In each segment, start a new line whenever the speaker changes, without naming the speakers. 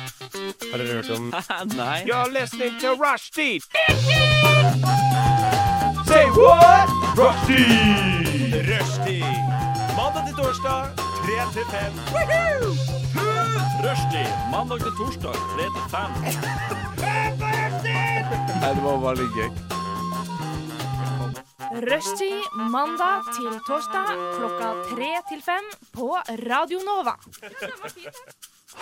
Har dere hørt om
Nei.
You're listening to Rushdie. Say what? Rushdie. Rushdie. Mandag til torsdag, 3 til 5. Rushdie. Mandag til torsdag, 3 til 5.
Nei, det var bare litt gøy.
Rushtid mandag til torsdag klokka tre til fem på Radio Nova.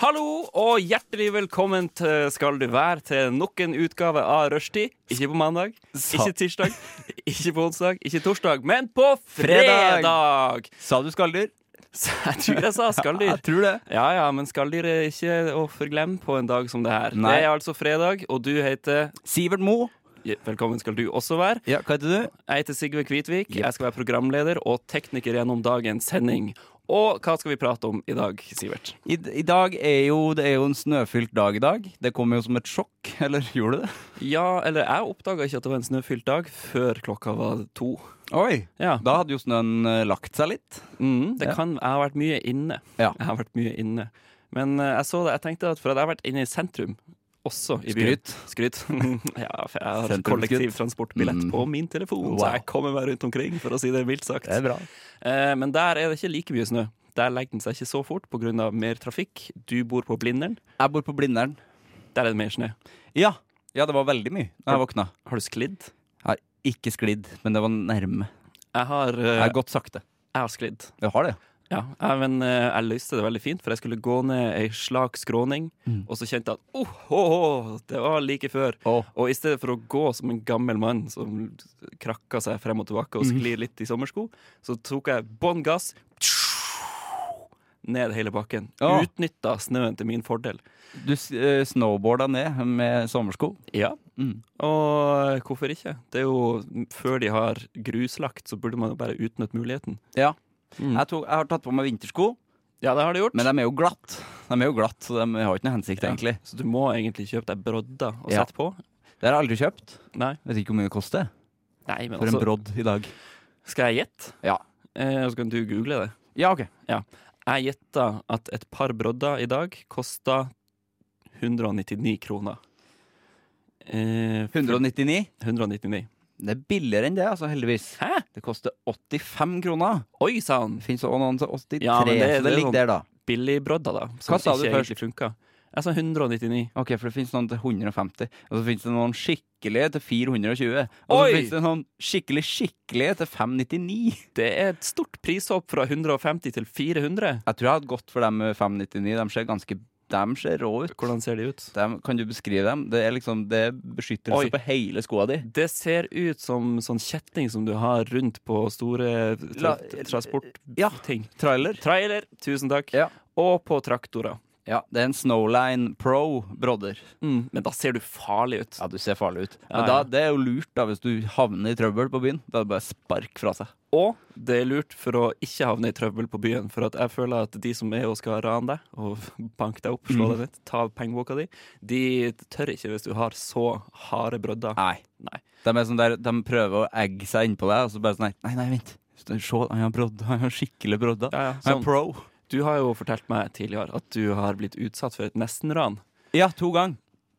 Hallo og hjertelig velkommen til, skal du være til nok en utgave av Rushtid. Ikke på mandag, ikke tirsdag, ikke på onsdag, ikke torsdag, men på
Fredag.
fredag!
Sa du skalldyr?
Så jeg tror jeg sa skalldyr.
Jeg tror det.
Ja ja, men skalldyr er ikke å forglemme på en dag som det her.
Nei.
Det er altså fredag, og du heter
Sivert Mo.
Velkommen skal du også være.
Ja, hva heter du?
Jeg heter Sigve Kvitvik.
Yep.
Jeg skal være programleder og tekniker gjennom dagens sending. Og hva skal vi prate om i dag, Sivert?
I, i dag er jo, det er jo en snøfylt dag i dag. Det kom jo som et sjokk. Eller gjorde det det?
Ja, eller jeg oppdaga ikke at det var en snøfylt dag før klokka var to.
Oi.
Ja.
Da hadde jo snøen eh, lagt seg litt.
Mm, det
Ja.
kan Jeg har vært mye inne.
Ja.
Jeg har vært mye inne. Men eh, jeg så det, jeg tenkte at for at jeg har vært inne i sentrum også i byen.
Skryt.
Skryt. ja, for jeg har
Sentrumsgutt.
kollektivtransportbillett
Mm.
på min telefon,
Wow.
så jeg kommer meg rundt omkring, for å si det mildt sagt.
bra.
Eh, men der er det ikke like mye snø. Der legger den seg ikke så fort pga. mer trafikk. Du bor på Blindern.
Jeg bor på Blindern.
Der er det mer snø.
Ja. ja, det var veldig mye da jeg våkna.
Har du sklidd?
Jeg har ikke sklidd, men det var nærme.
Jeg har, eh,
Jeg har gått sakte.
jeg har sklidd.
Jeg har det.
Ja, jeg, men eh, jeg løste det veldig fint, for jeg skulle gå ned ei slak skråning, og så kjente jeg at oh, oh, oh, det var like før.
Åh.
Og i stedet for å gå som en gammel mann som krakka seg frem og tilbake og sklir litt i sommersko, så tok jeg bånn gass ned hele bakken.
Ja.
Utnytta snøen til min fordel.
Du s- eh, snowboarda ned med sommersko.
Ja.
Mm.
Og hvorfor ikke? Det er jo Før de har gruslagt, så burde man jo bare utnytte muligheten.
Ja.
Mm.
Jeg, tok, jeg har tatt på meg vintersko,
Ja, det har de gjort.
men de er jo glatt. De er jo glatt, så de har jo ikke noe hensikt, egentlig.
Så du må egentlig kjøpe deg brodder og
Ja.
sette på.
Det har jeg aldri kjøpt.
Nei.
Vet ikke hvor mye det koster.
Nei, men
For en
altså,
brodd i dag.
Skal jeg gjette?
Ja.
Eh, så kan du google det.
Ja, ok.
Jeg gjetta at et par brodder i dag kosta 199 kroner. Eh,
199.
199.
Det er billigere enn det, altså, heldigvis.
Hæ?
Det koster 85 kroner.
Oi sann!
Det fins også noen til 83,
Ja, men det-
så det
det er
ligger
sånn-
der, da.
Billigbrodder, da. Som
Hva sa du
ikke
først?
egentlig funka. Jeg sa 199.
Ok, For det fins noen til 150, og så fins det noen skikkelige til 420. Og så
Oi!
fins det noen skikkelig skikkelige til 599.
Det er et stort prishopp fra 150 til 400.
Jeg tror jeg hadde gått for dem med 599. De ser ganske De ser rå ut.
Hvordan ser de ut?
Dem- kan du beskrive dem? Det er liksom Det er beskyttelse
Oi.
på hele skoa di.
Det ser ut som sånn kjetting som du har rundt på store tra
La-
transportting.
Ja. Trailer.
Trailer, tusen takk.
Ja.
Og på traktorer.
Ja, det er en Snowline Pro Brodder.
Mm. Men da ser du farlig ut.
Ja, du ser farlig ut.
Ja,
Men
ja.
da, det er jo lurt da hvis du havner i trøbbel på byen. Da er det bare spark fra seg.
Og det er lurt for å ikke havne i trøbbel på byen. For at jeg føler at de som er og skal rane deg og banke deg opp, slå
Mm.
deg ned, ta pengeboka di, de tør ikke hvis du har så harde brodder.
Nei.
Nei.
De, er sånn der, de prøver å egge seg innpå deg, og så bare sånn nei, nei, nei, vent. Se, han har brodd. Han har skikkelig brodda.
Ja, ja.
Han er
Sånn.
pro.
Du har jo fortalt meg tidligere at du har blitt utsatt for et nestenran.
Ja, to ganger.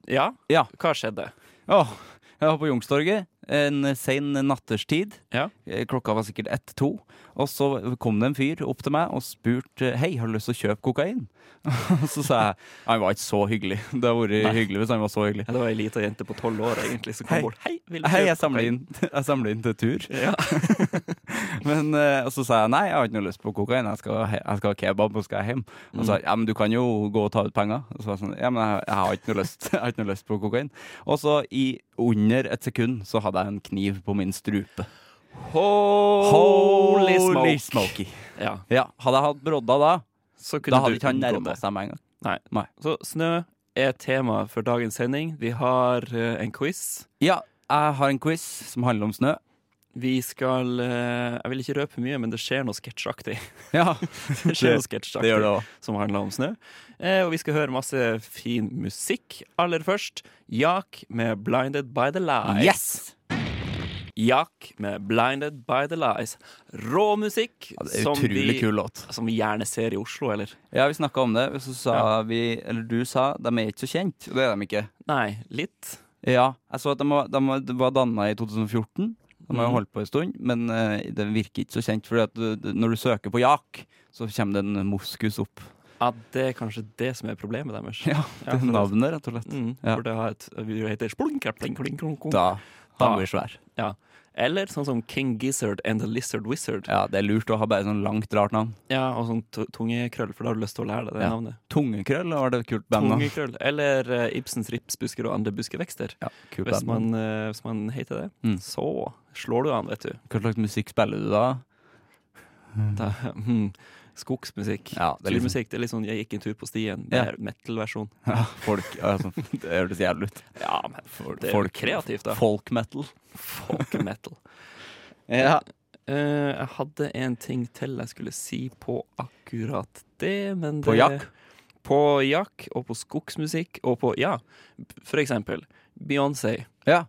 Ja?
Ja.
Hva skjedde?
Åh, jeg var på Youngstorget en sen natterstid.
Ja.
Eh, Klokka var sikkert ett-to. Og så kom det en fyr opp til meg og spurte Hei, har du lyst til å kjøpe kokain. Og så sa jeg han var ikke så hyggelig. Det hadde vært
Nei.
hyggelig hvis han var så hyggelig.
Ja, Det var ei lita jente på tolv år egentlig som
Hei.
kom bort. Hei, vil du
Hei,
kjøpe
jeg samler
kokain?»
inn, jeg samler inn til tur.
Ja.
Men eh, og så sa jeg nei, jeg har ikke noe lyst på kokain. Jeg skal, he- jeg skal ha kebab og skal jeg hjem. Og så sa jeg, ja, men du kan jo gå og ta ut penger. Og så var jeg sånn, ja, men jeg, jeg har ikke noe lyst Jeg har ikke noe lyst på kokain. Og så i under et sekund så hadde jeg en kniv på min strupe.
Holy smoke.
smoky.
Ja,
Ja, hadde jeg hatt brodda da,
så kunne
da hadde
du
ikke han
unngå
nærma
det.
seg meg engang.
Nei.
Nei.
Så snø er tema for dagens sending. Vi har eh, en quiz.
Ja, jeg har en quiz som handler om snø.
Vi skal eh, Jeg vil ikke røpe mye, men det skjer noe sketsjaktig.
Ja,
Det skjer noe sketsjaktig
det gjør det òg.
som handler om snø. Eh, og vi skal høre masse fin musikk. Aller først Jak med 'Blinded by the Light'.
Yes!
Jack med 'Blinded by the Lies'. Rå musikk
Ja, det er
som,
utrolig
vi,
kul låt.
som vi gjerne ser i Oslo, eller?
Ja, vi snakka om det, og så sa vi Eller du sa de er ikke så kjent. Og Det er de ikke.
Nei, litt.
Ja, jeg så at de var, de var- de var danna i 2014. De har jo
Mhm.
holdt på en stund, men eh, det virker ikke så kjent. For når du søker på Jak, så kommer det en moskus opp.
Ja, det er kanskje det som er problemet deres.
Ja,
Ja,
det
for-
er navnet, rett og slett.
Mm,
Ja.
Burde ha et video heter Splunker, pling, kling, klong, klong.
Da, da
Da.
blir det svær.
Ja. Eller sånn som King Gizzard and the Lizard Wizard.
Ja, det er lurt å ha bare sånn langt, rart navn.
Ja, og sånn tu- tungekrøll, for da har du lyst til å lære deg det
Ja.
navnet.
Tungekrøll var det et kult bandnavn.
Tungekrøll. Eller eh, Ibsens ripsbusker og andre buskevekster.
Ja, kult
Hvis
bandnavn.
man, eh, hvis man heter det,
Mm.
så slår du an, vet du.
Hva slags musikk spiller du da?
Da, hmm, skogsmusikk.
Mm. Ja, det er liksom-
Turmusikk. Det er litt sånn 'Jeg gikk en tur på stien'. Det
Ja.
er metal-versjon.
Ja, folk, altså, Det høres jævlig ut.
Ja, men det er jo
folk-
kreativt, da.
Folk metal.
Folk-metal.
Ja.
Eh, jeg hadde en ting til jeg skulle si på akkurat det, men
På
det,
jakk?
På jakk, og på skogsmusikk, og på Ja, for eksempel Beyoncé.
Ja.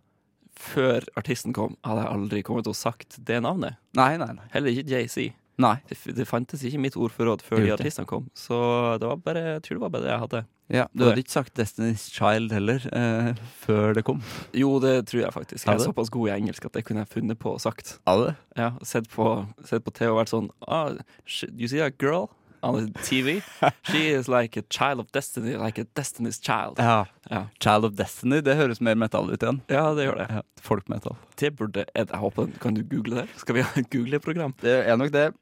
Før artisten kom, hadde jeg aldri kommet og sagt det navnet.
Nei, nei, nei.
Heller ikke JC.
nei.
Det, f- det fantes ikke mitt ordforråd før de
Gjorde det?
artistene kom, så det var bare, jeg tror det var bare det jeg hadde.
Ja, du hadde ikke sagt Destiny's Child heller, eh, før det kom.
Jo, det tror jeg faktisk. Jeg
Hadde?
er såpass god i engelsk at det kunne jeg funnet på og sagt.
Hadde det?
Ja, sett på, sett på TV og vært sånn ah, sh- You see that girl on the TV? She is like a child of destiny, like a destiny's child.
Ja.
Ja.
Child of Destiny, det høres mer metal ut igjen.
Ja, det gjør det.
Ja, Folkmetal.
Det burde Ed, jeg håper, Kan du google det? Skal vi ha et Google-program?
Det er nok det.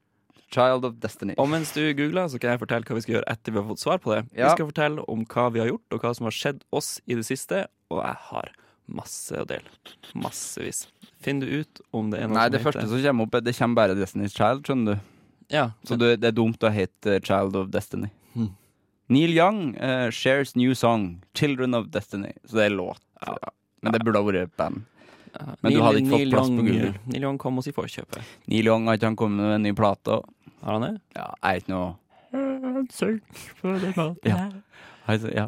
Child of Destiny.
Og mens du googler, så kan jeg fortelle hva vi skal gjøre etter vi har fått svar på det.
Ja.
Vi skal fortelle om hva vi har gjort, og hva som har skjedd oss i det siste. Og jeg har masse å dele. Massevis. Finner du ut om det er noe
Nei,
som
det
heter
første som kommer opp, er- det kommer bare Destiny's Child, skjønner du.
Ja,
Så du, det er dumt å hete eh, Child of Destiny.
Hmm.
Neil Young eh, shares new song, 'Children of Destiny'. Så det er låt.
Ja.
Men det burde ha vært et band.
ja.
men du
Neil-
hadde ikke fått
Neil
plass på
Young-
Google.
Neil Young kom oss i forkjøpet.
Neil Young har ikke han kommet med en ny plate. og-
Har han det?
Ja, jeg er ikke noe
Ja.
Altså, ja.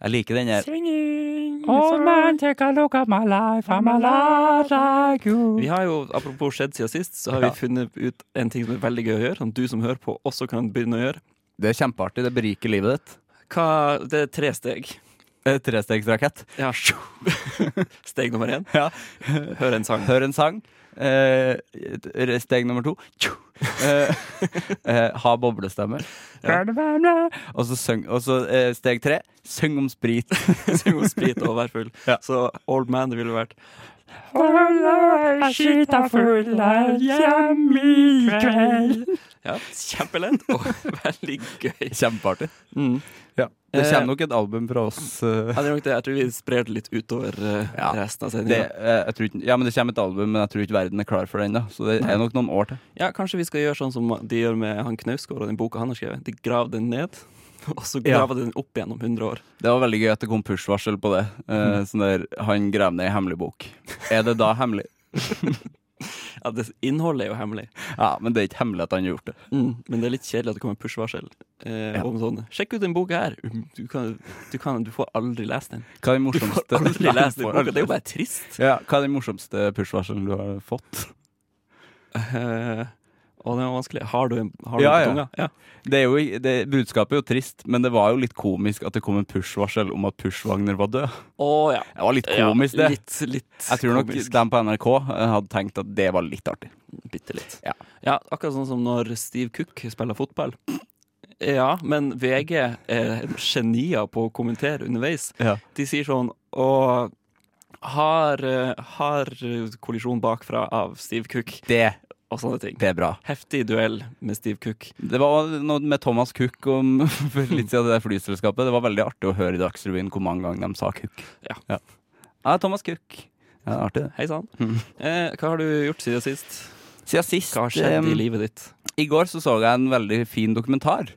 Jeg liker den der
Vi har jo, apropos skjedd siden sist, så har
Ja.
vi funnet ut en ting som er veldig gøy å gjøre, som du som hører på også kan begynne å gjøre.
Det er kjempeartig. Det beriker livet ditt.
Hva, det er tre steg.
Eh, Trestegsrakett.
Ja, sjo. Steg nummer én,
Ja.
hør en sang.
Hør en sang. Eh, steg nummer to Tjo! eh, eh, Ha boblestemme. Og så, syng, og så eh, steg tre syng om sprit.
Syng om sprit og vær full.
Ja.
Så Old Man det ville vært.
Skita full er hjem i kveld.
Ja, kjempelett og veldig gøy.
Kjempeartig.
Mm.
Det
Eh,
kommer nok et album fra oss. eh,
Ja, det er nok det. Jeg tror vi sprer det litt utover eh,
Ja.
resten av
Det,
sendinga.
eh, jeg tror ikke, ja, men det kommer et album, men jeg tror ikke verden er klar for det ennå. Så det er nok noen år til.
Ja, kanskje vi skal gjøre sånn som de gjør med han Knausgård og den boka han har skrevet. De grav den ned, og så
Ja.
graver den opp igjen om 100 år.
Det var veldig gøy at det kom push-varsel på det. Eh, sånn der, Han graver ned i hemmelig bok. Er det da hemmelig?
Ja, det Innholdet er jo hemmelig,
Ja, men det er ikke hemmelig at han har gjort det.
Mm, men det er litt kjedelig at det kommer push-varsel eh,
Ja.
om sånn 'Sjekk ut den boka her!' Um, Du, kan, du, kan, du får aldri lese den.
Hva er den
Du får
morsomste
aldri
Nei,
lese
du
den
får
boka.
aldri
Det er jo
lese
bare trist.
den. ja, Hva er den morsomste push-varselen du har fått?
Eh, og det var vanskelig. Har du, har du
Ja,
den på
ja.
tunga? Ja.
Det er jo, det, budskapet er jo trist, men det var jo litt komisk at det kom en push-varsel om at Pushwagner var død.
Å ja.
Det var litt komisk,
ja,
det.
Litt, litt
Jeg tror nok
komisk.
de på NRK eh, hadde tenkt at det var litt artig.
Bitte litt.
Ja.
akkurat sånn som når Steve Cook spiller fotball. Ja, men VG er genier på å kommentere underveis.
Ja.
De sier sånn Og har, eh, har kollisjon bakfra av Steve Cook
Det,
og sånne ting.
det er bra.
Heftig duell med Steve Cook.
Det var noe med Thomas Cook om for litt siden det der flyselskapet. Det var veldig artig å høre i Dagsrevyen hvor mange ganger de sa Cook.
Ja.
ja. Ja, Thomas Cook. Ja, det er artig, det.
Hei sann.
Mm.
Eh, hva har du gjort siden sist?
Siden sist
Hva har skjedd
em,
i livet ditt?
I går så så jeg en veldig fin dokumentar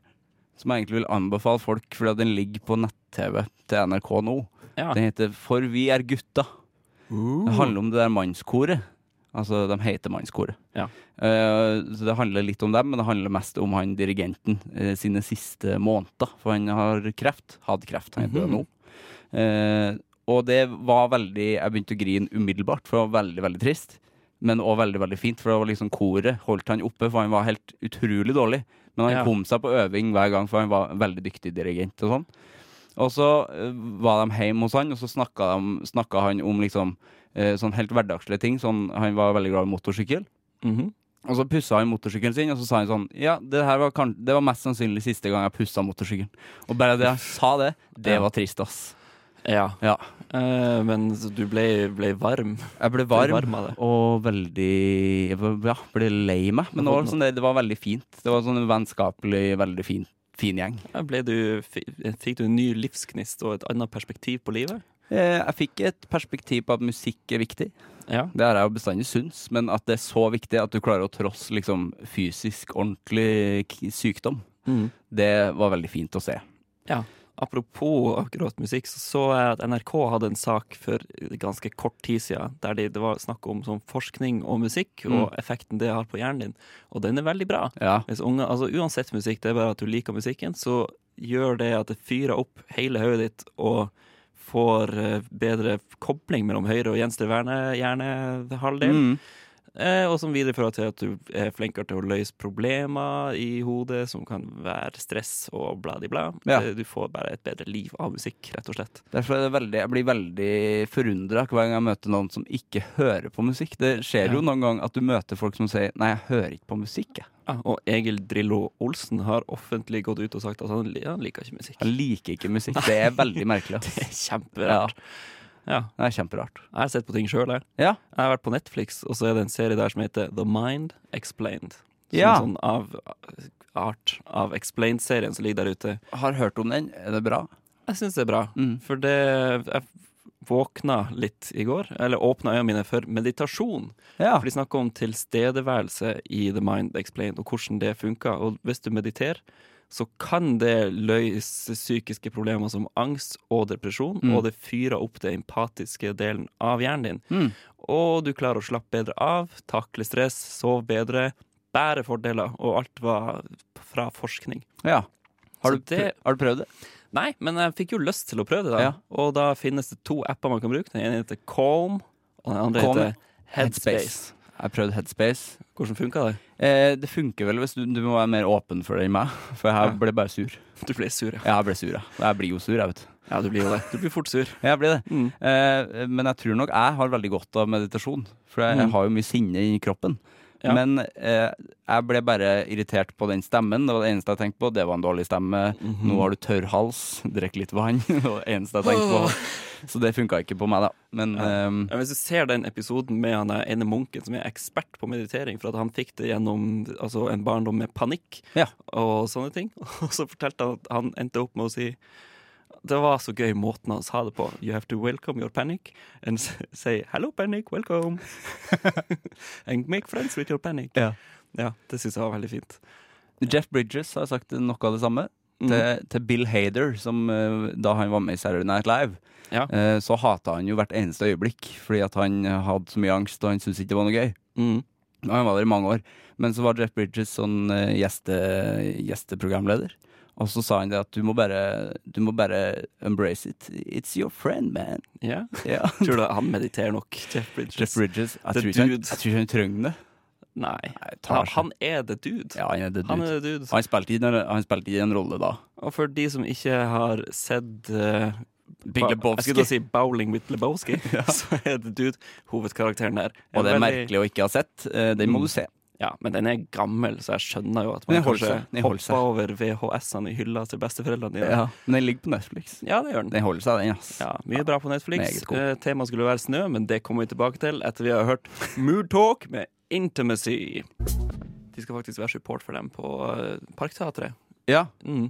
som jeg egentlig vil anbefale folk, fordi den ligger på nett-TV til NRK nå.
Ja. Uh.
Den heter For vi er gutta. Det handler om det der mannskoret. Altså, de heter Mannskoret.
Ja.
Eh, så det handler litt om dem, men det handler mest om han dirigenten
Mhm.
eh, sine siste måneder. For han har kreft. Hadde kreft. Han er død nå. Eh, Og det var veldig Jeg begynte å grine umiddelbart, for det var veldig, veldig trist. Men òg veldig veldig fint, for det var liksom koret holdt han oppe, for han var helt utrolig dårlig. Men han
Ja.
kom seg på øving hver gang, for han var en veldig dyktig dirigent. og sånn. Og så eh, var de hjemme hos han, og så snakka, de, snakka han om liksom eh, sånn helt hverdagslige ting. Sånn, han var veldig glad i motorsykkel.
Mhm.
Og så pussa han motorsykkelen sin, og så sa han sånn Ja, det her var, kan- det var mest sannsynlig siste gang jeg pussa motorsykkelen. Og bare det han sa det, det
Ja.
var trist, ass.
Ja.
Ja.
Eh, men du ble, ble varm.
Jeg
Ble
ble varm,
varm av det.
og veldig jeg var- Ja, ble lei meg. Men det var, sånn, det, det var veldig fint. Det var sånn en vennskapelig, veldig fin, fin gjeng.
Ja, Ble du, fi- fikk du en ny livsgnist og et annet perspektiv på livet?
Eh, Jeg fikk et perspektiv på at musikk er viktig.
Ja.
Det har jeg jo bestandig syns, men at det er så viktig at du klarer å trosse liksom, fysisk, ordentlig k- sykdom,
Mm.
det var veldig fint å se.
Apropos akkurat musikk, så så jeg at NRK hadde en sak for ganske kort tid siden der de, det var snakk om sånn forskning og musikk og effekten det har på hjernen din. Og den er veldig bra.
Ja.
Hvis unge, altså Uansett musikk, det er bare at du liker musikken, så gjør det at det fyrer opp hele hodet ditt og får eh, bedre kobling mellom høyre og venstre hjerne- hjernehalvdel.
Mm.
Eh, og som viderefører til at du er flinkere til å løse problemer i hodet, som kan være stress og bladi-bla.
Ja.
Eh, Du får bare et bedre liv av musikk, rett og slett.
Derfor er det veldig, jeg blir veldig forundra hver gang jeg møter noen som ikke hører på musikk. Det skjer jo
Ja.
noen gang at du møter folk som sier 'nei, jeg hører ikke på musikk', jeg.
Ja, og Egil Drillo Olsen har offentlig gått ut og sagt at han, han liker ikke musikk.
Jeg liker ikke musikk. Det er veldig merkelig.
Det
Ass.
er kjemperart. Ja.
Det er kjemperart.
Jeg har sett på ting sjøl, jeg.
Ja.
Jeg har vært på Netflix, og så er det en serie der som heter The Mind Explained. Som
Ja.
sånn av art av Explained-serien som ligger der ute.
Har hørt om den. Er det bra?
Jeg syns det er bra,
Mm.
for det Jeg våkna litt i går, eller åpna øynene mine for meditasjon.
Ja.
For de snakker om tilstedeværelse i The Mind Explained, og hvordan det funker. Og hvis du mediterer, så kan det løse psykiske problemer som angst og depresjon,
Mm.
og det fyrer opp den empatiske delen av hjernen din.
Mm.
Og du klarer å slappe bedre av, takle stress, sove bedre, bære fordeler, og alt var fra forskning.
ja. Har,
Så
du,
det-
prø- har du prøvd det?
Nei, men jeg fikk jo lyst til å prøve det, da.
Ja.
Og da finnes det to apper man kan bruke. Den ene heter Calm, og den andre
Calm.
heter Headspace.
Jeg har prøvd Headspace.
Hvordan funka det?
Eh, det funker vel hvis du, du må være mer åpen for det enn meg, for jeg
Ja.
ble bare sur.
Du blir sur, ja.
Ja, Jeg ble sur, jeg. Jeg blir jo sur, jeg, vet du.
Ja, du blir jo det. Du blir fort sur.
Jeg blir det.
Mm.
Eh, men jeg tror nok jeg har veldig godt av meditasjon. For jeg, jeg
Mm.
har jo mye sinne i kroppen.
Ja.
Men eh, jeg ble bare irritert på den stemmen. Det var det eneste jeg tenkte på. Det var en dårlig stemme.
Mhm.
Nå har du tørr hals. Drikk litt vann. det var det eneste jeg tenkte på. Så det funka ikke på meg, da. Men ehm,
Ja, Hvis du ser den episoden med han der ene munken som er ekspert på meditering, for at han fikk det gjennom altså, en barndom med panikk
Ja.
og sånne ting, og så fortalte han at han endte opp med å si det var så gøy måten han sa det på. You have to welcome your panic and s- say hello panic, welcome. and make friends with your panic.
Ja.
Ja, det syns jeg var veldig fint.
Jeff Bridges har sagt noe av det samme.
Mhm.
Til, til Bill Hader, som eh, da han var med i Saturday Night Live,
Ja.
eh, så hata han jo hvert eneste øyeblikk fordi at han hadde så mye angst og han syntes ikke det var noe gøy.
Mm.
Og Han var der i mange år. Men så var Jeff Bridges sånn eh, gjeste, gjesteprogramleder. Og så sa han det at du må bare, du må bare embrace it. It's your friend, man.
Ja.
Ja.
Tror du han mediterer nok, Jeff Bridges?
Jeff Bridges. Jeg
The
tror, ikke han,
dude.
jeg tror ikke han trenger det.
Nei.
tar
Han,
seg.
han er the dude.
Ja, han er the
Han
dude.
er the dude.
Han spilte ikke han spilte ikke en rolle da.
Og for de som ikke har sett eh,
Big
ba-
Lebowski.
Jeg skulle til å si Bowling with Lebowski, så er det dude, hovedkarakteren der.
Og det er
Veldig-
merkelig å ikke ha sett. Eh, Den må
Mm.
du se.
Ja, men den er gammel, så jeg skjønner jo at
Den
man
holder seg. Den
kanskje
holder seg.
hopper over VHS-ene i hylla til besteforeldrene dine.
Ja. Men den ligger på Netflix.
Ja, det gjør den.
Den holder seg, den, ass.
Mm, Ja, mye bra på Netflix.
Meget god.
Eh, Temaet skulle være snø, men det kommer vi tilbake til etter vi har hørt Mood Talk med Intimacy. De skal faktisk være support for dem på eh, Parkteatret.
Ja.
Mm.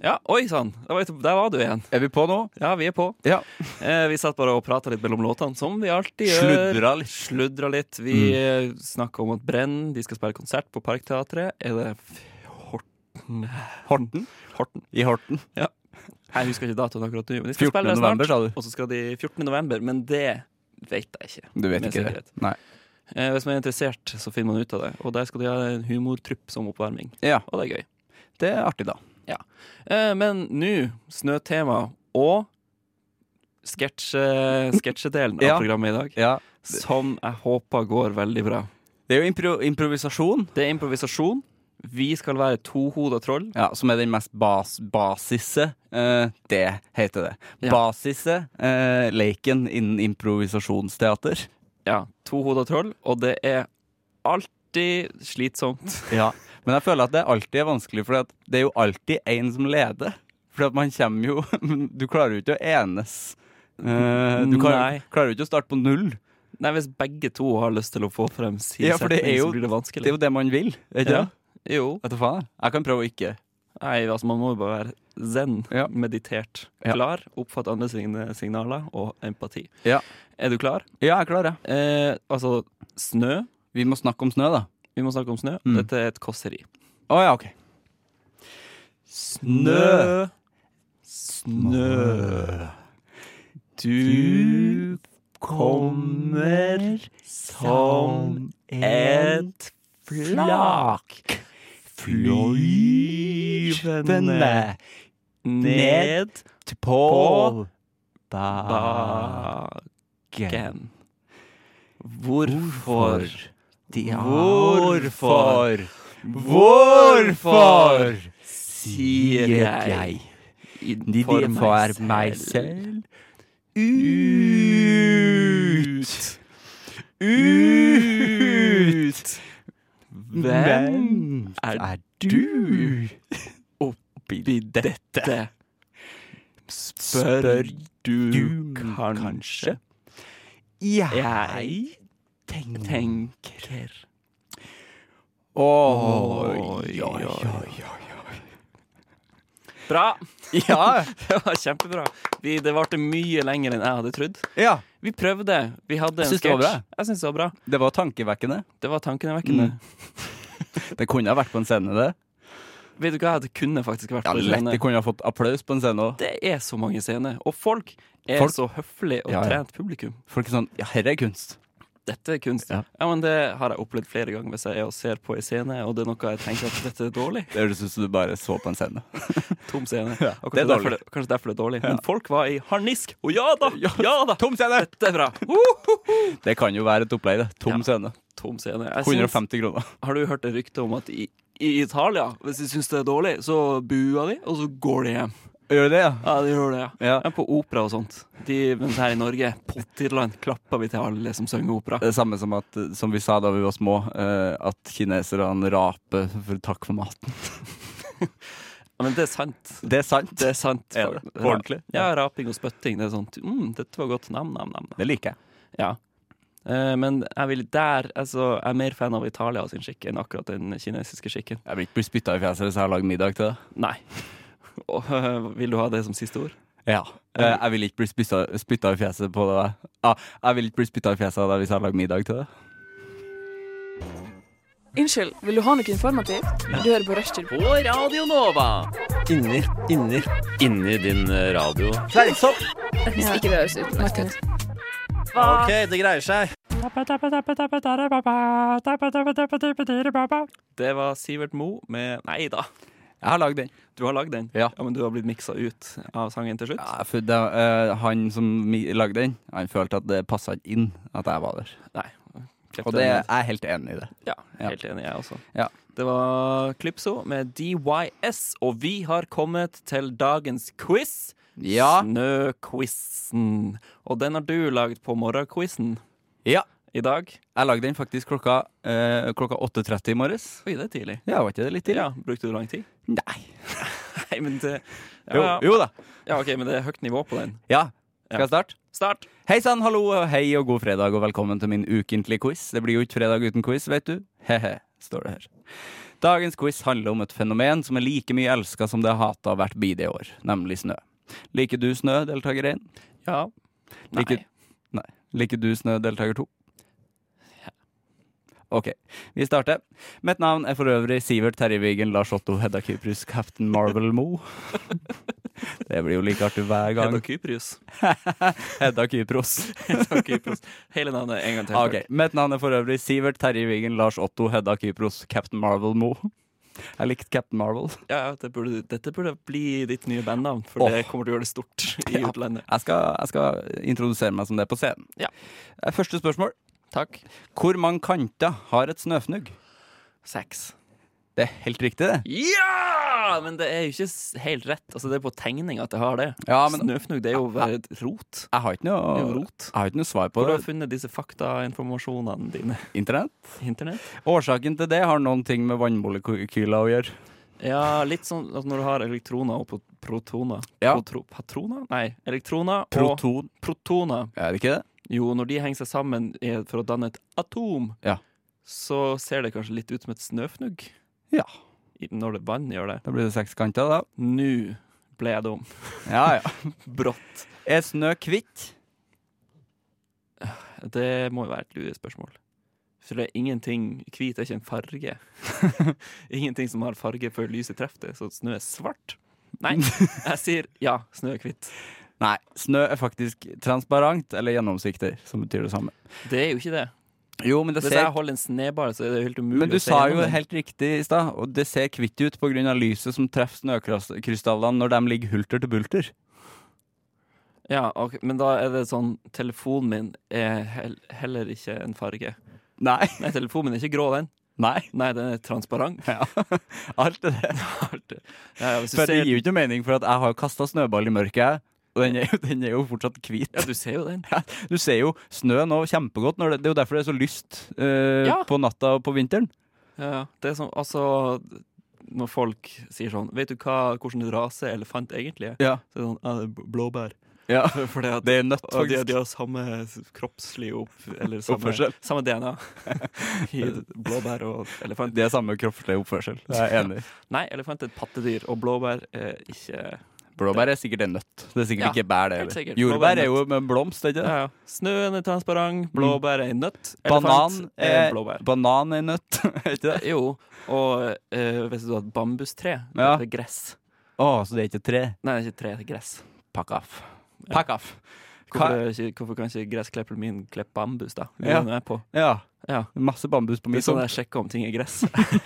Ja, oi sann! Der var- der var du igjen.
Er vi på nå?
Ja, vi er på.
Ja.
Eh, vi satt bare og prata litt mellom låtene, som vi alltid gjør.
Sludra litt. Mm.
Sludra litt. Vi eh, snakka om at Brenn de skal spille konsert på Parkteatret. Er det f- Horten Horten? Horten.
I Horten.
Jeg husker ikke datoen akkurat nå, men de skal
14.
spille der
november,
snart.
sa du.
Og så skal de 14. november, men det vet jeg ikke.
Du vet
Med
ikke det.
sikkerhet.
Nei.
Eh, hvis man er interessert, så finner man ut av det. Og der skal de ha en humortrupp som oppvarming.
Ja.
Og det er gøy.
Det er artig, da.
Eh, men nå, snøtema og sketsj, eh, sketsjedelen av
Ja.
programmet i dag,
Ja.
som jeg håper går veldig bra.
Det er jo impro improvisasjon
Det er improvisasjon. Vi skal være tohoda troll.
ja, som er den mest bas basise. eh, det heter det.
Ja.
Basise eh, leken innen improvisasjonsteater.
Ja, tohoda troll, og det er alltid slitsomt.
Ja, men jeg føler at det alltid er vanskelig, for det er jo alltid en som leder. For at man kommer jo men Du klarer jo ikke å enes. Eh, du
Nei.
kan, klarer jo ikke å starte på null.
Nei, hvis begge to har lyst til å få frem sin
Ja, for det
setning,
er jo-
så blir det
Det er
vanskelig.
jo det man vil, er ikke
Ja.
det?
Jo.
Vet du faen, jeg. jeg kan prøve å ikke.
Nei, altså man må jo bare være zen,
Ja.
meditert,
Ja.
klar, oppfatte andre sine signaler og empati.
Ja.
Er du klar?
Ja, jeg klarer det.
Eh, altså, snø.
Vi må snakke om snø, da.
Vi må snakke om snø.
Mm.
Dette er et kåseri.
Å ja, OK. Snø.
Snø.
Du kommer som et flak flyvende ned
ned
på
baken.
bakken.
Hvorfor?
Hvorfor? Hvorfor?
Sier jeg.
De for meg, selv. Ut. Ut. Hvem er du oppi dette?
Det spør du kanskje. Jeg tenker
Oi, oi, oi.
Bra!
Ja.
Det var kjempebra. Vi, det varte mye lenger enn jeg hadde trodd.
ja.
Vi prøvde. Vi hadde en
syns det var
sketsj.
bra. Mm.
Jeg syns det var bra.
Det var tankevekkende.
Det var tankevekkende.
Det kunne ha vært på en scene, det.
Vet du hva, det kunne faktisk vært
Ja,
på en
lett
scene.
det kunne ha fått applaus på en scene òg.
Det er så mange scener. Og folk er
Folk-
så høflig og
Ja, ja.
trent publikum.
Folk er sånn Ja, herre er kunst.
Dette er kunst. Ja.
Ja.
men Det har jeg opplevd flere ganger hvis jeg er og ser på en scene, og det er noe jeg tenker at dette er dårlig.
Det høres ut som du bare så på en scene.
Tom scene.
Ja,
Og
det
kanskje,
er
derfor
dårlig.
det, kanskje derfor det er dårlig. Men folk var i harnisk! Og ja da! Ja, da!
Tom scene!
Dette er bra!
Det kan jo være et opplegg, det. Tom
Ja.
scene.
Tom scene. Jeg syns,
150 kroner.
har du hørt et rykte om at i, i Italia, hvis de syns det er dårlig, så buer de, og så går de hjem?
Gjør det, ja?
Ja, de gjør det, ja.
ja.
Ja, på opera og sånt. De, mens her i Norge, potterland, klapper vi til alle som synger opera.
Det er samme som, at, eh, som vi sa da vi var små, eh, at kineserne raper for takk for maten.
Ja, Men det er sant.
Det er sant.
Det er sant.
Er det?
Ja.
På ordentlig?
Ja, raping og spytting. Det er sånt mm, 'Dette var godt. Nam, nam, nam. nam.
Det liker jeg.
Ja. Eh, men jeg vil der altså, Jeg er mer fan av Italia sin skikk enn akkurat den kinesiske skikken.
Jeg vil ikke bli spytta i fjeset hvis jeg har lagd middag til deg.
Nei. Og, eh, vil du ha det som siste ord?
Ja. Eh, Jeg vil ikke bli spytta- spytta i fjeset på deg. Ah, jeg vil ikke bli spytta i fjeset av deg hvis jeg har lagd middag til deg.
Unnskyld, vil du ha noe informativt? Du hører på Rushtid.
inni din eh, radio.
Hvis ikke det høres ut. Martin.
OK, det greier seg.
Det var Sivert Mo med Nei da.
Jeg har lagd den.
Du har lagd den,
Ja.
men du har blitt miksa ut av sangen til slutt?
Ja, for det, eh, han som mi- lagde den, han følte at det passa ikke inn at jeg var der.
Nei. Klipp
Og
den
det,
ned.
jeg er helt enig i det.
Ja,
Ja.
helt enig jeg også.
Ja.
Det var Klypso med DYS, og vi har kommet til dagens quiz. Snøquizen. Og den har du laget på morgenquizen
ja.
i dag.
Jeg lagde den faktisk klokka, eh, klokka 8.30 i morges.
Oi, det er tidlig.
Ja, var ikke det litt tidlig?
Ja, Brukte du lang tid?
Nei.
Nei, men det
Jo,
ja, ja.
jo da.
ja, OK, men det er høyt nivå på den.
Ja.
Ja.
Skal jeg starte?
Start!
Hei sann, hallo, og hei og god fredag, og velkommen til min ukentlige quiz. Det blir jo ikke fredag uten quiz, vet du. He-he, står det her. Dagens quiz handler om et fenomen som er like mye elska som det er hata hvert bidige år, nemlig snø. Liker du snø, deltaker 1?
Ja. Nei.
Liker, nei. Liker du snø, deltaker 2? Ok, vi starter. Mitt navn er for øvrig Sivert Terje Vigen, Lars Otto, Hedda Kypris, Captain Marvel Mo. Det blir jo like artig hver gang.
Hedda Kyprius.
Hedda Kypros.
Hedda Kyprios. Hele navnet en
Ah,
gang til.
Ok, Mitt navn er for øvrig Sivert Terje Vigen, Lars Otto, Hedda Kypros, Captain Marvel Mo. Jeg likte Captain Marvel.
Ja, ja, det burde, dette burde bli ditt nye bandnavn, for
Åh.
det kommer til å gjøre det stort i
Ja.
utlandet.
Jeg skal, jeg skal introdusere meg som det på scenen.
Ja.
Eh, Første spørsmål.
Takk.
Hvor mange kanter har et snøfnugg?
Seks.
Det er helt riktig, det.
Ja! Men det er jo ikke s- helt rett. Altså, det er på tegning at jeg har det.
Ja, men
Snøfnugg, det er jo bare et rot.
jeg har ikke
Det
noe,
er jo rot.
jeg har ikke noe svar på
Hvor har
det.
du funnet disse faktainformasjonene dine?
Internett?
Internett?
Årsaken til det har noen ting med vannmolekyler å gjøre.
Ja, litt sånn at når du har elektroner og pot- protoner
Ja.
Protro- Patroner? Nei, elektroner og
Proton.
protoner.
Er det ikke det?
Jo, når de henger seg sammen i- for å danne et atom,
Ja.
så ser det kanskje litt ut som et snøfnugg.
Ja.
I- Når det vann gjør det.
Da blir det seks kanter, da.
Nå ble jeg dum.
Ja, ja.
Brått.
Er snø kvitt?
Det må jo være et lurespørsmål. For det er ingenting Hvit er ikke en farge. ingenting som har farge før lyset treffer det, så snø er svart. Nei, jeg sier ja, snø er hvitt.
Nei, snø er faktisk transparent eller gjennomsiktig, som betyr det samme.
Det er jo ikke det.
Jo, men det
Hvis
ser
jeg holder en snebar, så er det jo helt umulig
men du
å se
sa jo
gjennom den.
helt riktig i stad, og det ser kvitt ut pga. lyset som treffer snøkrystallene når de ligger hulter til bulter.
Ja, ok, Men da er det sånn Telefonen min er hel heller ikke en farge.
Nei.
Nei, telefonen min er ikke grå, den.
Nei.
Nei, den er transparent.
Ja. Alt det der.
Ja, ja, hvis du,
For det
ser,
gir jo ikke mening, for at jeg har kasta snøball i mørket, og den er, jo- den er jo fortsatt hvit.
ja, du ser jo den.
Du ser jo snø nå kjempegodt. Når det, det er jo derfor det er så lyst eh,
Ja.
på natta og på vinteren.
Ja, ja. det er sånn, altså Når folk sier sånn Vet du hva, hvordan rase elefant egentlig er?
Ja.
Så er det sånn, ja, det er bl- blåbær. Fordi at
Det er nødt,
og de,
faktisk.
de har samme kroppslige opp... Eller samme,
Oppførsel.
samme DNA. I blåbær og elefant.
Det er samme kroppslig oppførsel. Jeg er enig.
Nei, elefant er et pattedyr, og blåbær er ikke
Blåbær er sikkert en nøtt. Det er sikkert
Ja,
ikke bær, det
helt
heller.
sikkert. Blåbær
Jordbær
er
er jo en blomst, er ikke det?
Ja, ja. Snøen er transparent, blåbær er en nøtt, elefant
Banan
er
er,
en blåbær.
banan er nøtt, er ikke det?
Jo, og eh, vet du at bambustre,
Ja.
det er gress.
Å, så det er ikke tre.
Nei, det er ikke tre, det er gress.
Pack off. Pack off.
Hvorfor, er ikke, hvorfor kan ikke gressklipperen min klippe bambus, da? Det
Ja.
er jeg på.
Ja.
Ja.
Masse bambus på
Det er
min
sånn
tomt.
jeg sjekker om ting er gress.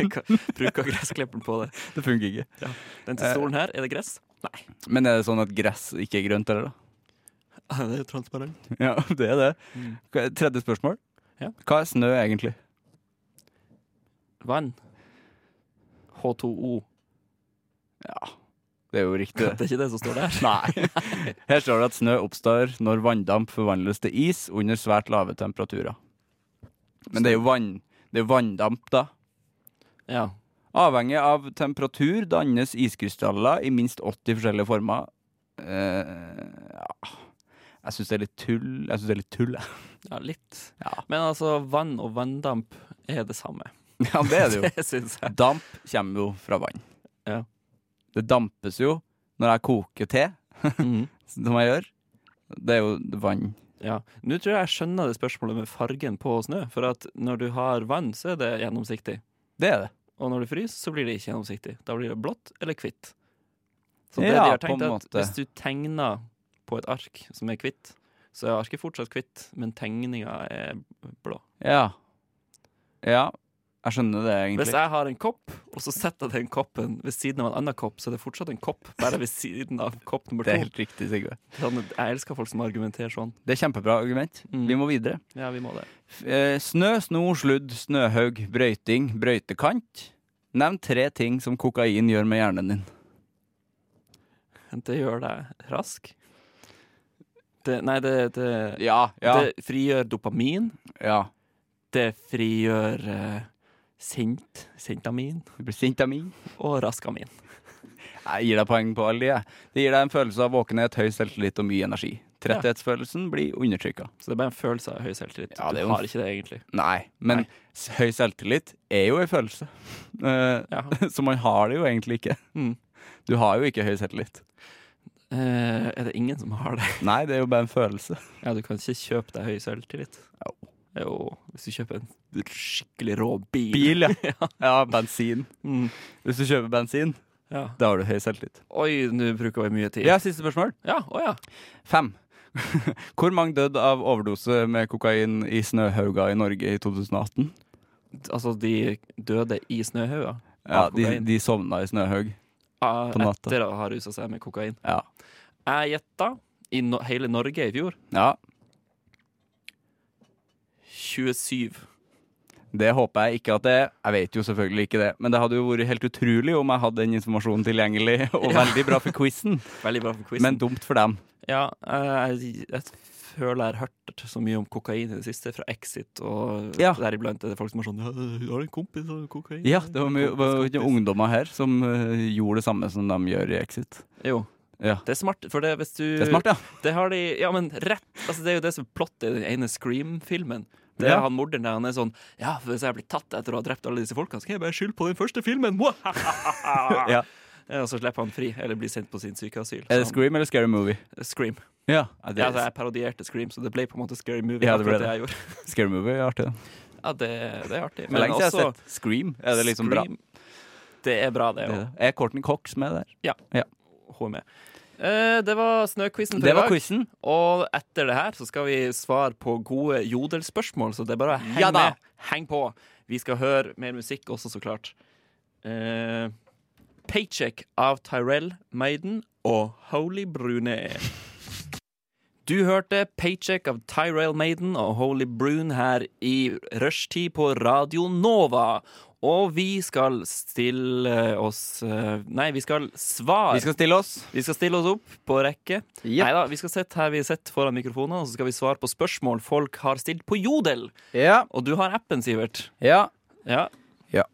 Bruker gressklipperen på det.
Det funker ikke.
Den
Eh.
til stolen her, er det gress? Nei.
Men er det sånn at gress ikke er grønt, eller da?
Det er jo transparent.
Ja, det er det. Hva- Tredje spørsmål.
Mm. Ja.
Hva er snø egentlig?
Vann. H2O.
Det er jo riktig,
Det
det.
er ikke det som står der.
Nei. Her står det at snø oppstår når vanndamp forvandles til is under svært lave temperaturer. Men det er jo vann, det er jo vanndamp, da.
Ja.
Avhengig av temperatur dannes iskrystaller i minst 80 forskjellige former. Eh, ja. Jeg syns det er litt tull. Jeg synes det er litt tull, jeg.
ja, litt.
Ja.
Men altså, vann og vanndamp er det samme.
Ja, det er det jo.
Det syns jeg.
Damp kommer jo fra vann.
Ja.
Det dampes jo når jeg koker te, som jeg gjør. Det er jo vann.
Ja. Nå tror jeg jeg skjønner det spørsmålet med fargen på snø. For at når du har vann, så er det gjennomsiktig.
Det er det.
Og når du fryser, så blir det ikke gjennomsiktig. Da blir det blått eller hvitt. Så det
Ja,
de har
på en
tenkt er at
måte.
hvis du tegner på et ark som er hvitt, så er arket fortsatt hvitt, men tegninga er blå.
Ja. Ja, jeg skjønner det
Hvis
egentlig.
jeg har en kopp, og så setter jeg den koppen ved siden av en annen kopp, så er det fortsatt en kopp, bare ved siden av kopp nummer
Det er
to.
helt riktig, Sigve.
Sånn, Jeg elsker folk som argumenterer sånn.
Det er kjempebra argument.
Mm.
Vi må videre.
Ja, vi må det.
F- eh, Snø, sno, sludd, snøhaug, brøyting, brøytekant. Nevn tre ting som kokain gjør med hjernen din.
Det gjør deg rask. Det, nei, det, det,
Ja, ja,
det frigjør dopamin.
ja.
Det frigjør eh, sint, sintamin
Du blir sint av min.
og raskamin.
Jeg gir deg poeng på alle de. jeg. Det gir deg en følelse av våkenhet, høy selvtillit og mye energi. Tretthetsfølelsen blir undertrykka.
Så det er bare en følelse av høy selvtillit.
Ja, det er
du
jo-
har ikke det egentlig.
Nei, men
Nei.
s- høy selvtillit er jo en følelse. Eh,
Ja.
Så man har det jo egentlig ikke.
Mm.
Du har jo ikke høy selvtillit.
Eh, er det ingen som har det?
Nei, det er jo bare en følelse.
Ja, du kan ikke kjøpe deg høy selvtillit.
Jo.
Jo, hvis du kjøper en skikkelig rå bil.
Bil, ja. ja. Bensin.
Mm.
Hvis du kjøper bensin,
Ja.
da har du høy selvtillit.
Oi, nå bruker vi mye tid.
Ja, siste spørsmål.
Ja, å ja.
Fem. Hvor mange døde av overdose med kokain i snøhauger i Norge i 2018?
Altså, de døde i snøhauger.
Ja,
av
de,
kokain.
de sovna i snøhaug.
Ah,
på natta.
Etter å ha rusa seg med kokain.
Ja.
Jeg gjetta i no hele Norge i fjor
ja.
27.
Det håper jeg ikke at det er. Jeg vet jo selvfølgelig ikke det. Men det hadde jo vært helt utrolig om jeg hadde den informasjonen tilgjengelig, og
Ja.
veldig bra for quizen,
Veldig bra for quizen.
men dumt for dem.
ja, eh, jeg, jeg føler jeg har hørt så mye om kokain i det siste, fra Exit og
Ja.
deriblant er det folk som er sånn ja, 'Har du en kompis av kokain?'
Ja, det var mye det var jo
Kompis.
ikke ungdommer her som eh, gjorde det samme som de gjør i Exit.
Jo.
Ja.
Det er smart, for det, hvis du
Det er smart, ja.
Det har de Ja, men rett altså, Det er jo det som er plottet i den ene Scream-filmen. Det er
Ja.
han morderen der han er sånn Ja, for hvis jeg blir tatt etter å ha drept alle disse folkene, skal jeg bare skylde på den første filmen! ah,
Ja.
Ja, Og så slipper han fri, eller blir sendt på sin sykeasyl.
Er det
Så
Scream eller Scary Movie?
han- Scream.
Ja, det
sånn. Ja, altså,
er,
jeg parodierte Scream, så det ble på en måte Scary Movie.
Ja, det ble
akkurat jeg gjorde.
Scary Movie er artig. da.
Ja, det, det er artig.
Det er lenge siden jeg har sett Scream. Er det liksom bra?
altså, Scream- Det er bra, det
Det
òg.
er det. Er Courtney Cox med der?
Hun er med. Eh, det var snøquizen for
Det
i
var
dag.
quizen.
Og etter det her så skal vi svare på gode jodelspørsmål, så det er bare å henge
Ja da.
med. Heng på. Vi skal høre mer musikk også, så klart. Eh, Paycheck av Tyrell Maiden og Holy Brune. Du hørte Paycheck av Tyrell Maiden og Holy Brune her i rushtid på Radio Nova. Og vi skal stille oss eh, Nei, vi skal svare.
Vi skal stille oss.
Vi skal stille oss opp på rekke. Neida, vi skal sitte her vi sitter foran mikrofoner, og så skal vi svare på spørsmål folk har stilt på Jodel.
Ja.
Og du har appen, Sivert.
ja.
Ja,
Det har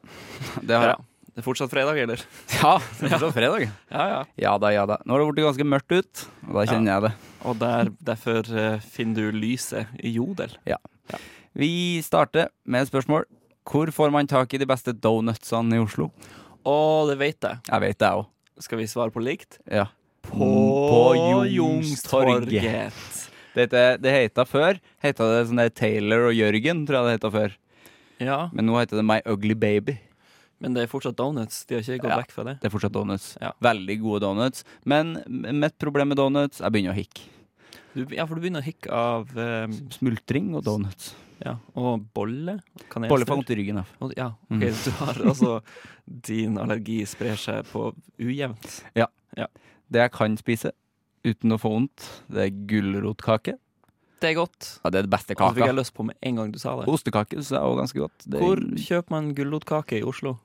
ja.
jeg.
Det er fortsatt fredag, eller?
Ja, det er fortsatt fredag.
Ja, ja.
Ja da, ja da. Nå har det blitt ganske mørkt ut, og da kjenner jeg det.
Og der, derfor eh, finner du lyset i Jodel.
Vi starter med et spørsmål. Hvor får man tak i de beste donutsene i Oslo?
Å, det vet jeg.
Jeg vet det, jeg òg.
Skal vi svare på likt?
Ja.
På,
Youngstorget. Det, heter- det heter før Heta det sånn der Taylor og Jørgen, tror jeg det heta før.
Ja,
Men nå heter det My Ugly Baby.
men det er fortsatt donuts. De har ikke gått
Ja.
vekk fra det.
Det er fortsatt donuts.
Ja.
Veldig gode donuts. Men mitt problem med donuts Jeg begynner å hikke.
Du, ja, for du begynner å hikke av eh,
Smultring og donuts.
ja, og bolle. kanelsnurr.
Bolle fang til ryggen. jeg.
Og- Ja, ok, du har altså Din allergi sprer seg på ujevnt.
Det jeg kan spise uten å få vondt, det er gulrotkake. Altså,
Det er godt.
Ja, det er det beste
Og så fikk jeg
kaka.
lyst på med en gang du sa det.
Ostekake syns jeg òg ganske godt. Det er-
Hvor kjøper man gulrotkake i Oslo?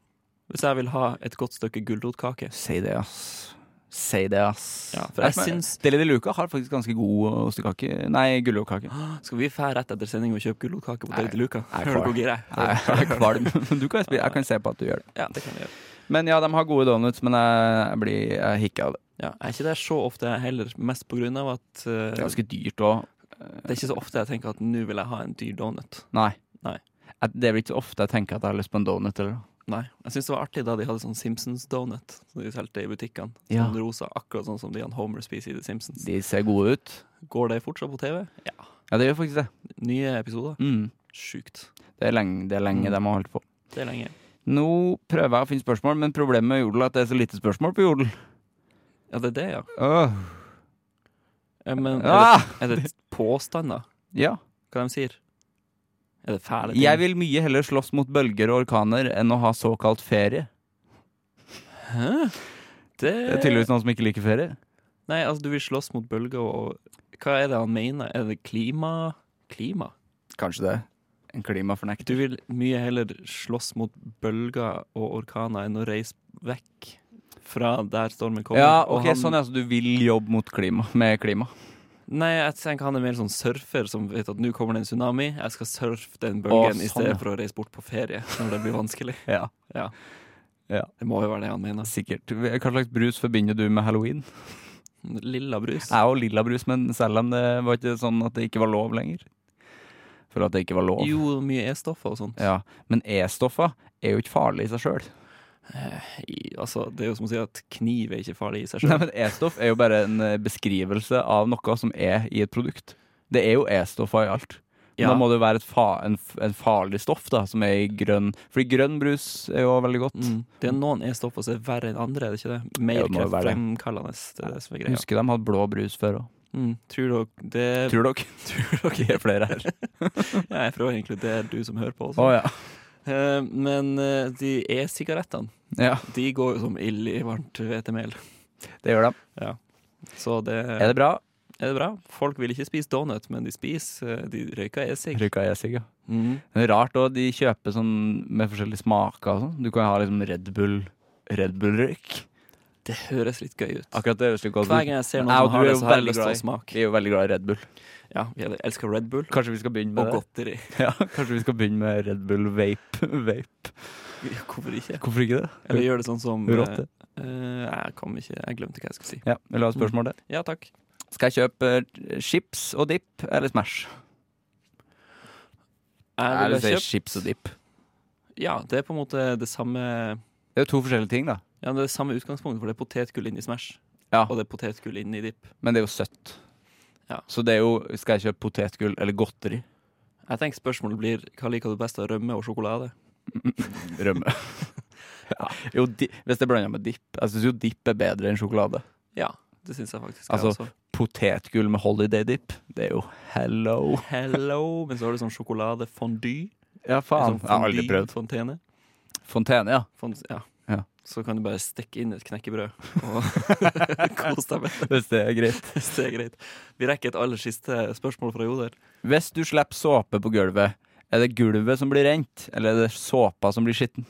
Hvis jeg vil ha et godt stykke gulrotkake.
Si det, ass. Si det, ass.
Ja, for jeg syns-
Deli de Luca har faktisk ganske god uh, ostekake. Nei, gulrotkake.
Skal vi fære rett etter sending og kjøpe gulrotkake på
Nei,
Date Luca?
jeg er
Hører du
klar.
hvor gira jeg er?
Nei, Jeg er kvalm. Men Du kan spise. Jeg kan se på at du gjør det.
Ja, det kan vi gjøre.
Men ja, de har gode donuts, men jeg blir jeg hikker av det.
Ja, er ikke det så ofte jeg heller, mest på grunn av at eh,
Det er ganske dyrt òg.
Det er ikke så ofte jeg tenker at nå vil jeg ha en dyr donut.
Nei.
Nei.
Jeg- Det er vel ikke så ofte jeg tenker at jeg har lyst på en donut. Eller.
Nei. Jeg syns det var artig da de hadde sånn Simpsons-donut som de solgte i butikkene.
Ja.
Sånn rosa, akkurat sånn som de han Homer spiser i The Simpsons.
De ser gode ut.
Går det fortsatt på TV? Ja.
Ja, det gjør faktisk det.
Nye episoder?
Mm.
Sjukt.
Det er lenge, det er lenge
Mm.
de har holdt på.
Det er lenge.
Nå prøver jeg å finne spørsmål, men problemet med Jodel er at det er så lite spørsmål på Jodel.
Ja, det er det, ja.
Åh.
Eh, Men er
Ah!
det, er det påstander,
Ja.
hva de sier? Er det fæle ting?
Jeg vil mye heller slåss mot bølger og orkaner enn å ha såkalt ferie.
Hæ? Det
Det er tydeligvis noen som ikke liker ferie.
Nei, altså, du vil slåss mot bølger og Hva er det han mener? Er det klima? Klima?
Kanskje det. En klimafornekt.
Du vil mye heller slåss mot bølger og orkaner enn å reise vekk fra der stormen kommer.
Ja,
Og
ok,
han-
sånn er altså, du vil jobbe mot klima, med klima.
Nei, jeg tenker han er mer sånn surfer som vet at nå kommer det en tsunami. Jeg skal surfe den
Å,
bølgen
sånn,
i stedet
ja.
for å reise bort på ferie når det blir vanskelig.
Ja,
Det må jo være det han mener.
sikkert. Hva slags brus forbinder du med halloween?
Lilla brus.
Jeg og lilla brus, men selv om det var ikke sånn at det ikke var lov lenger. For at det ikke var lov.
Jo, mye E-stoffer og sånt.
Ja, men E-stoffa er jo ikke farlig i seg sjøl.
I- Altså, det er jo som å si at kniv er ikke farlig i seg
Nei,
sjøl.
men E-stoff er jo bare en eh, beskrivelse av noe som er i et produkt. Det er jo E-stoffa i alt. Men
Ja.
Da må det jo være et fa en, f- en farlig stoff da, som er i grønn Fordi grønn brus er jo veldig godt.
Mm. Det er noen E-stoffer som er verre enn andre, er det ikke det? Mer
Jo, det må jo være det.
kreftfremkallende. Det er det som er
Jeg
greia.
husker de hadde blå brus før òg.
Mm. Tror dere det
Tror dere? Tror dere er flere her?
Ja, Jeg prøver å inkludere du som hører på
Å
også.
ja.
Eh, Men eh, de e-sigarettene,
Ja,
de går jo som ild i varmt hvetemel.
det gjør de.
Så det
Er det bra?
er det bra. Folk vil ikke spise donut, men de spiser eh, De røyker e-sig.
Bruker jeg sigg, ja.
Mm.
Det er rart òg, de kjøper sånn med forskjellige smaker og sånn. Du kan ha liksom Red Bull Red Bull-røyk.
Det høres litt gøy ut.
Akkurat det høres litt godt
Hver gang
ut.
jeg ser
Jeg
noen som
og du
har
er
det,
jo
så har jeg
veldig
lyst til å
glad i-
smake.
Vi er jo veldig glad i Red Bull.
Ja, jeg elsker Red Bull
Kanskje vi skal begynne
og
med det?
godteri.
Ja, kanskje vi skal begynne med Red Bull vape. vape.
Ja, Hvorfor ikke?
Hvorfor ikke det?
Eller gjør det sånn som eh,
Rotte.
eh, jeg kom ikke Jeg glemte hva jeg skulle si.
Ja, vil du ha et spørsmål til?
Ja takk.
Skal jeg kjøpe eh, chips og dip eller Smash?
Jeg
Jeg
ville
vil si
kjøpt
chips og dip.
Ja, det er på en måte det samme Ja,
Det er jo to forskjellige ting, da.
det er samme utgangspunkt, for det er potetgull inni Smash.
Ja.
Og det er potetgull inni Dipp.
Men det er jo søtt.
Ja.
Så det er jo Skal jeg kjøpe potetgull eller godteri?
Jeg tenker spørsmålet blir hva liker du best av rømme og sjokolade?
Rømme. ja. Jo, di hvis det er blanda med dipp. Jeg syns jo dipp er bedre enn sjokolade.
Ja, det syns jeg faktisk.
Altså-
jeg også.
Potetgull med holiday dip, det er jo hello.
Hello! Men så har du sånn sjokoladefondue.
Ja,
Sånn
faen. Jeg har aldri
fondue-
prøvd.
Fontene.
Fontene, ja.
Fond, ja.
Ja.
Så kan du bare stikke inn et knekkebrød og kose deg med det.
Hvis det er greit.
Hvis det er greit. Vi rekker et aller siste spørsmål fra Joder.
Hvis du slipper såpe på gulvet, er det gulvet som blir rent, eller er det såpa som blir skitten?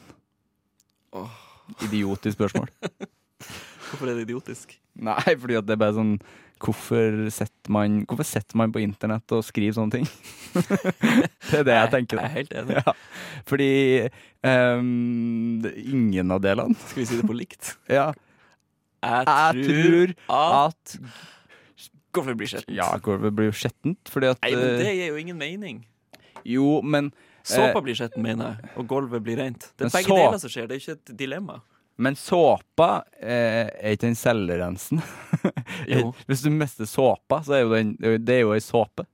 Åh.
Idiotisk spørsmål.
Hvorfor er det idiotisk?
Nei, fordi at det er bare sånn Hvorfor setter man, hvorfor setter man på internett og skriver sånne ting? det er det jeg
Jeg
tenker.
er helt enig.
Ja. Fordi ehm, det er ingen av delene.
Skal vi si det på likt?
Ja.
Jeg
Jeg tror
at
at
Hvorfor blir skjedd?
Ja, gulvet blir jo skjettent, fordi at
Nei, men det
eh,
gir jo ingen mening.
Jo, men,
Såpa blir skjetten, mener jeg, og gulvet blir rent. Det
Men
er begge
så-
deler som skjer, det er ikke et dilemma.
men såpa eh, er ikke den selvrensende.
Jo.
Eh, Hvis du mister såpa, så er jo den Det er jo ei såpe.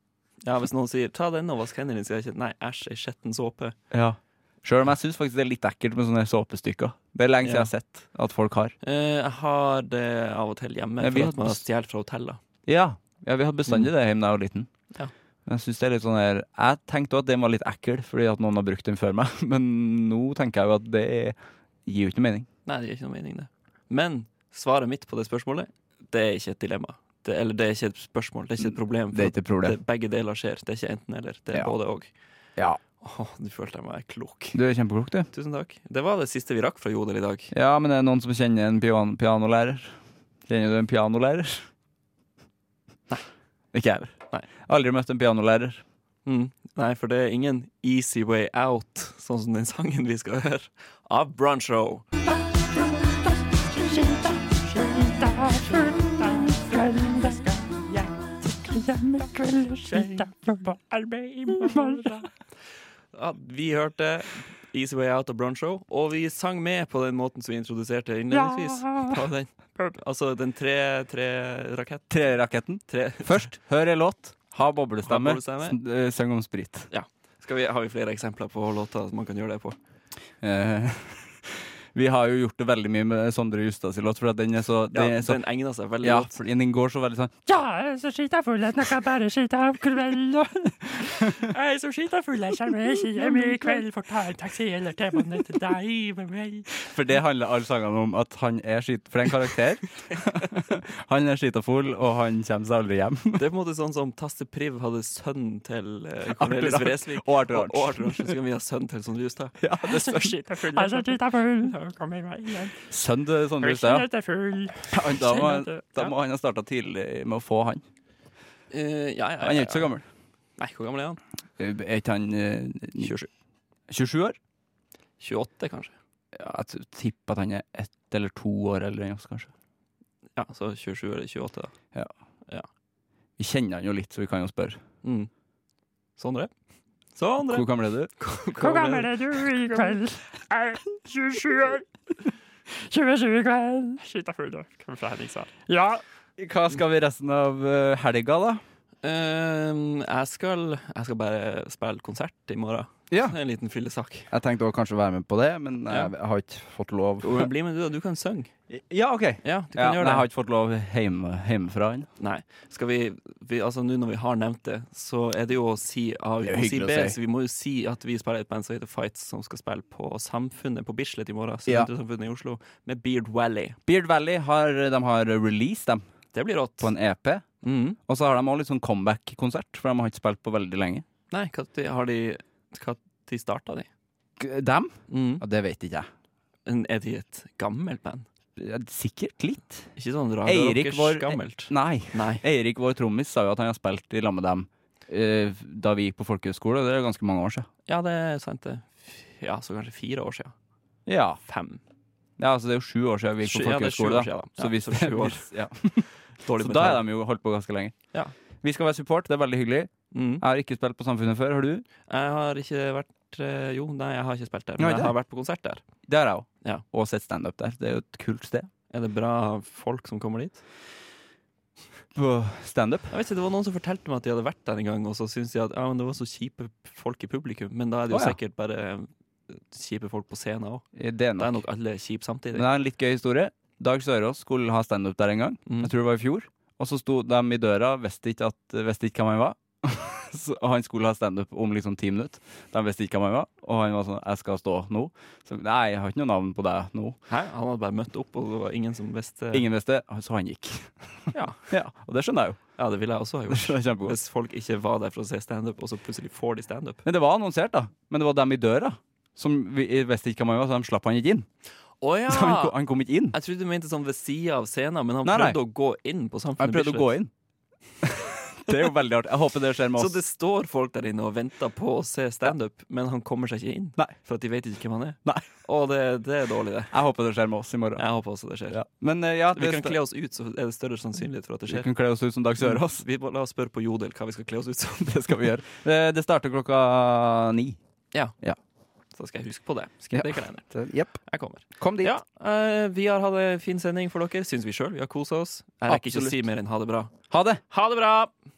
Ja, Hvis noen sier 'ta den og vask hendene dine', sier jeg ikke 'nei, æsj, ei skjetten såpe'.
Ja. Sjøl om jeg syns faktisk det er litt ekkelt med sånne såpestykker. Det er lenge
Ja.
siden jeg har sett at folk har.
Eh, Jeg har det av og til hjemme,
Nei, vi
for
har
at man har
best-
stjålet fra hoteller.
Ja, Mm. ja vi hadde bestandig det hjemme da jeg var liten.
Ja.
Men Jeg synes det er litt sånn der Jeg tenkte også at den var litt ekkel fordi at noen har brukt den før meg, men nå tenker jeg jo at det gir jo ikke noe mening.
Nei, det gir ikke noe mening, det. Men svaret mitt på det spørsmålet, det er ikke et dilemma. Det, eller det er ikke et spørsmål, det er ikke et problem.
Det er ikke et
for at
problem.
det, begge deler skjer. Det er ikke enten-eller, det er
Ja.
både og.
Ja.
Åh, du følte jeg meg klok.
Du er kjempeklok, du.
Tusen takk. Det var det siste vi rakk fra Jodel i dag.
Ja, men er det noen som kjenner en pian pianolærer? Kjenner du en pianolærer? Nei. Ikke jeg heller.
Nei.
Aldri møtt en pianolærer.
Mm. Nei, for det er ingen easy way out, sånn som den sangen vi skal høre, av Brunchrow. Ja, vi hørte Easy Way Out av Brunchrow, og vi sang med på den måten som vi introduserte innledningsvis. På den. Altså den tre, tre rakett...
Treraketten.
Tre.
Først, hør ei låt. Ha boblestemme.
Ha boblestemme.
sn- eh, Syng om sprit.
Skal vi, har vi flere eksempler på låter som man kan gjøre det på?
Eh, Vi har jo gjort det veldig mye med Sondre Justads låt, for at den er så,
Ja,
den er så
den egner seg veldig
ja,
godt.
fordi den går så veldig sånn
Jeg er så skita full at jeg kan bare skite av kveld. og- Jeg er så skita full jeg kommer ikke hjem i kveld. Får ta en taxi eller T-bane til deg med meg.
For det handler alle sangene om at han er skit For det er en karakter. han er skita full, og han kommer seg aldri hjem.
Det er på en måte sånn som Tasse Priv hadde sønnen til eh, Cornelis
Arthur Arnt-
Vresvig.
og Arthur
Og,
Arnt.
og Arthur Arnt, så skal vi ha sønnen til sånn Sondre Justad.
Ja, det
Jeg er
spørs.
skita full, jeg skita full. og Kommer meg hjem.
Sønnen til Sondre
Jeg
Justad, ja.
er full.
Han- Da må,
Skjønner du?
da må han ha starta tidlig med å få han.
Eh, ja, ja, ja,
Han er ikke så
ja.
gammel.
Nei, hvor gammel er han?
Er ikke han eh,
27.
27 år?
28, kanskje.
Ja, jeg t- tipper at han er ett eller to år eldre enn oss, kanskje.
Ja, så 27 eller 28, da.
Vi kjenner han jo litt, så vi kan jo spørre.
Mm. Sondre? Sondre!
Hvor gammel er du?
Hvor gammel er du i kveld? Jeg er 27 år. 2020 i kveld. Skita full og kommer fra Henningsvær. Ja,
Hva skal vi resten av eh, helga, da?
Ehm, jeg, skal, jeg skal bare spille konsert i morgen.
Ja.
En liten fyllesak.
Jeg tenkte også kanskje å være med på det, men eh, jeg, har ikke fått lov.
Jo, men Bli med, du, da. Du kan synge.
Ja, OK.
Ja, du
Ja,
kan
men
gjøre
jeg
det.
har ikke fått lov hjemme, hjemmefra ennå.
Nei. Skal vi, vi Altså, nå når vi har nevnt det, så er det jo å si A
Det er
uten å si
hyggelig å
B.
si.
Så vi må jo si at vi spiller i et band som heter Fights, som skal spille på Samfunnet på Bislett i morgen.
Ja.
Studentersamfunnet i Oslo, med Beard Valley.
Beard Valley har, de har release dem
Det blir rått.
på en EP.
Mhm.
Og så har de også litt sånn comeback-konsert, for de har ikke spilt på veldig lenge.
Nei, når har de Når starta de?
G- Dem?
Mhm.
Ja, det vet ikke jeg.
Er de et gammelt band?
Ja, Sikkert litt.
Ikke sånn
Eirik
radiorockers
var-
gammelt?
Nei.
Nei.
Eirik, vår trommis, sa jo at han har spilt i lag med dem eh, da vi gikk på folkehøyskole. Det er jo ganske mange år siden.
Ja, det er sant, det. F- Ja, så kanskje fire år siden.
Ja.
Fem.
ja, altså det er jo sju år siden vi gikk
Sju-
på
ja, det er sju
folkehøyskole.
år siden,
da.
da.
Så
Ja,
hvis-
så sju år.
hvis- ja.
Dårlig
Så
med
da
tall.
er de jo holdt på ganske lenge.
Ja.
Vi skal være support, det er veldig hyggelig.
Mhm.
Jeg har ikke spilt på Samfunnet før, har du?
Jeg har ikke vært eh, Jo, nei, jeg har ikke spilt der,
Nei,
men
det-
jeg har vært på konsert der.
Det har jeg òg.
Ja.
Og sett standup der. Det er jo et kult sted.
Er det bra folk som kommer dit?
På standup.
Jeg vet ikke, Det var noen som fortalte meg at de hadde vært der en gang, og så syntes de at ja, men det var så kjipe folk i publikum. Men da er det jo
Å, ja.
sikkert bare eh, kjipe folk på scenen òg.
Det er
Da er
nok.
nok alle kjipe
Men
samtidig.
det er en litt gøy historie. Dag Sørås skulle ha standup der en gang.
Mm.
Jeg tror det var i fjor. Og så sto de i døra, visste ikke, at, visste ikke hvem han var. Så, og han skulle ha standup om liksom ti minutter. De visste ikke hvem han var. Og han var sånn 'Jeg skal stå nå'. Så nei, jeg har ikke noe navn på deg nå.
Hæ? Han hadde bare møtt opp, og det var ingen som visste
Ingen visste, så han gikk.
Ja.
ja. Og det skjønner jeg jo.
Ja, det ville jeg også ha
Det
gjort.
skjønner jeg kjempegodt.
Hvis folk ikke var der for å se standup, og så plutselig får de standup.
Men det var annonsert, da. Men det var dem i døra som vi- visste ikke hvem han var, så de slapp han ikke inn.
Å ja!
Så han, ko- han kom ikke inn.
Jeg trodde du mente sånn ved sida av scenen, men han
Nei, nei.
prøvde å gå inn på
Jeg
Samfunnet
prøvde å gå inn. Det er jo veldig artig. Jeg håper det skjer med
Så
oss.
det står folk der inne og venter på å se standup, men han kommer seg ikke inn.
Nei.
For at de vet ikke hvem han er.
Nei.
Og det, det er dårlig, det.
Jeg håper det skjer med oss i morgen.
Jeg håper også det skjer.
Ja. Men eh, ja,
Vi kan
sta-
kle oss ut, så er det større sannsynlighet for at det
vi
skjer.
kan kle oss ut som Dag Sørås.
Vi må, la oss spørre på Jodel hva vi skal kle oss ut som.
Det skal vi gjøre. Det, det starter klokka ni.
Så skal jeg huske på det.
Ja.
Skriv det i kalenderen. Jeg kommer.
Kom dit.
Ja, eh, vi har hatt en fin sending for dere, syns vi sjøl. Vi har kosa oss. Jeg rekker ikke å
Absolutt.
si mer enn ha det bra.
Ha det!
Ha det bra!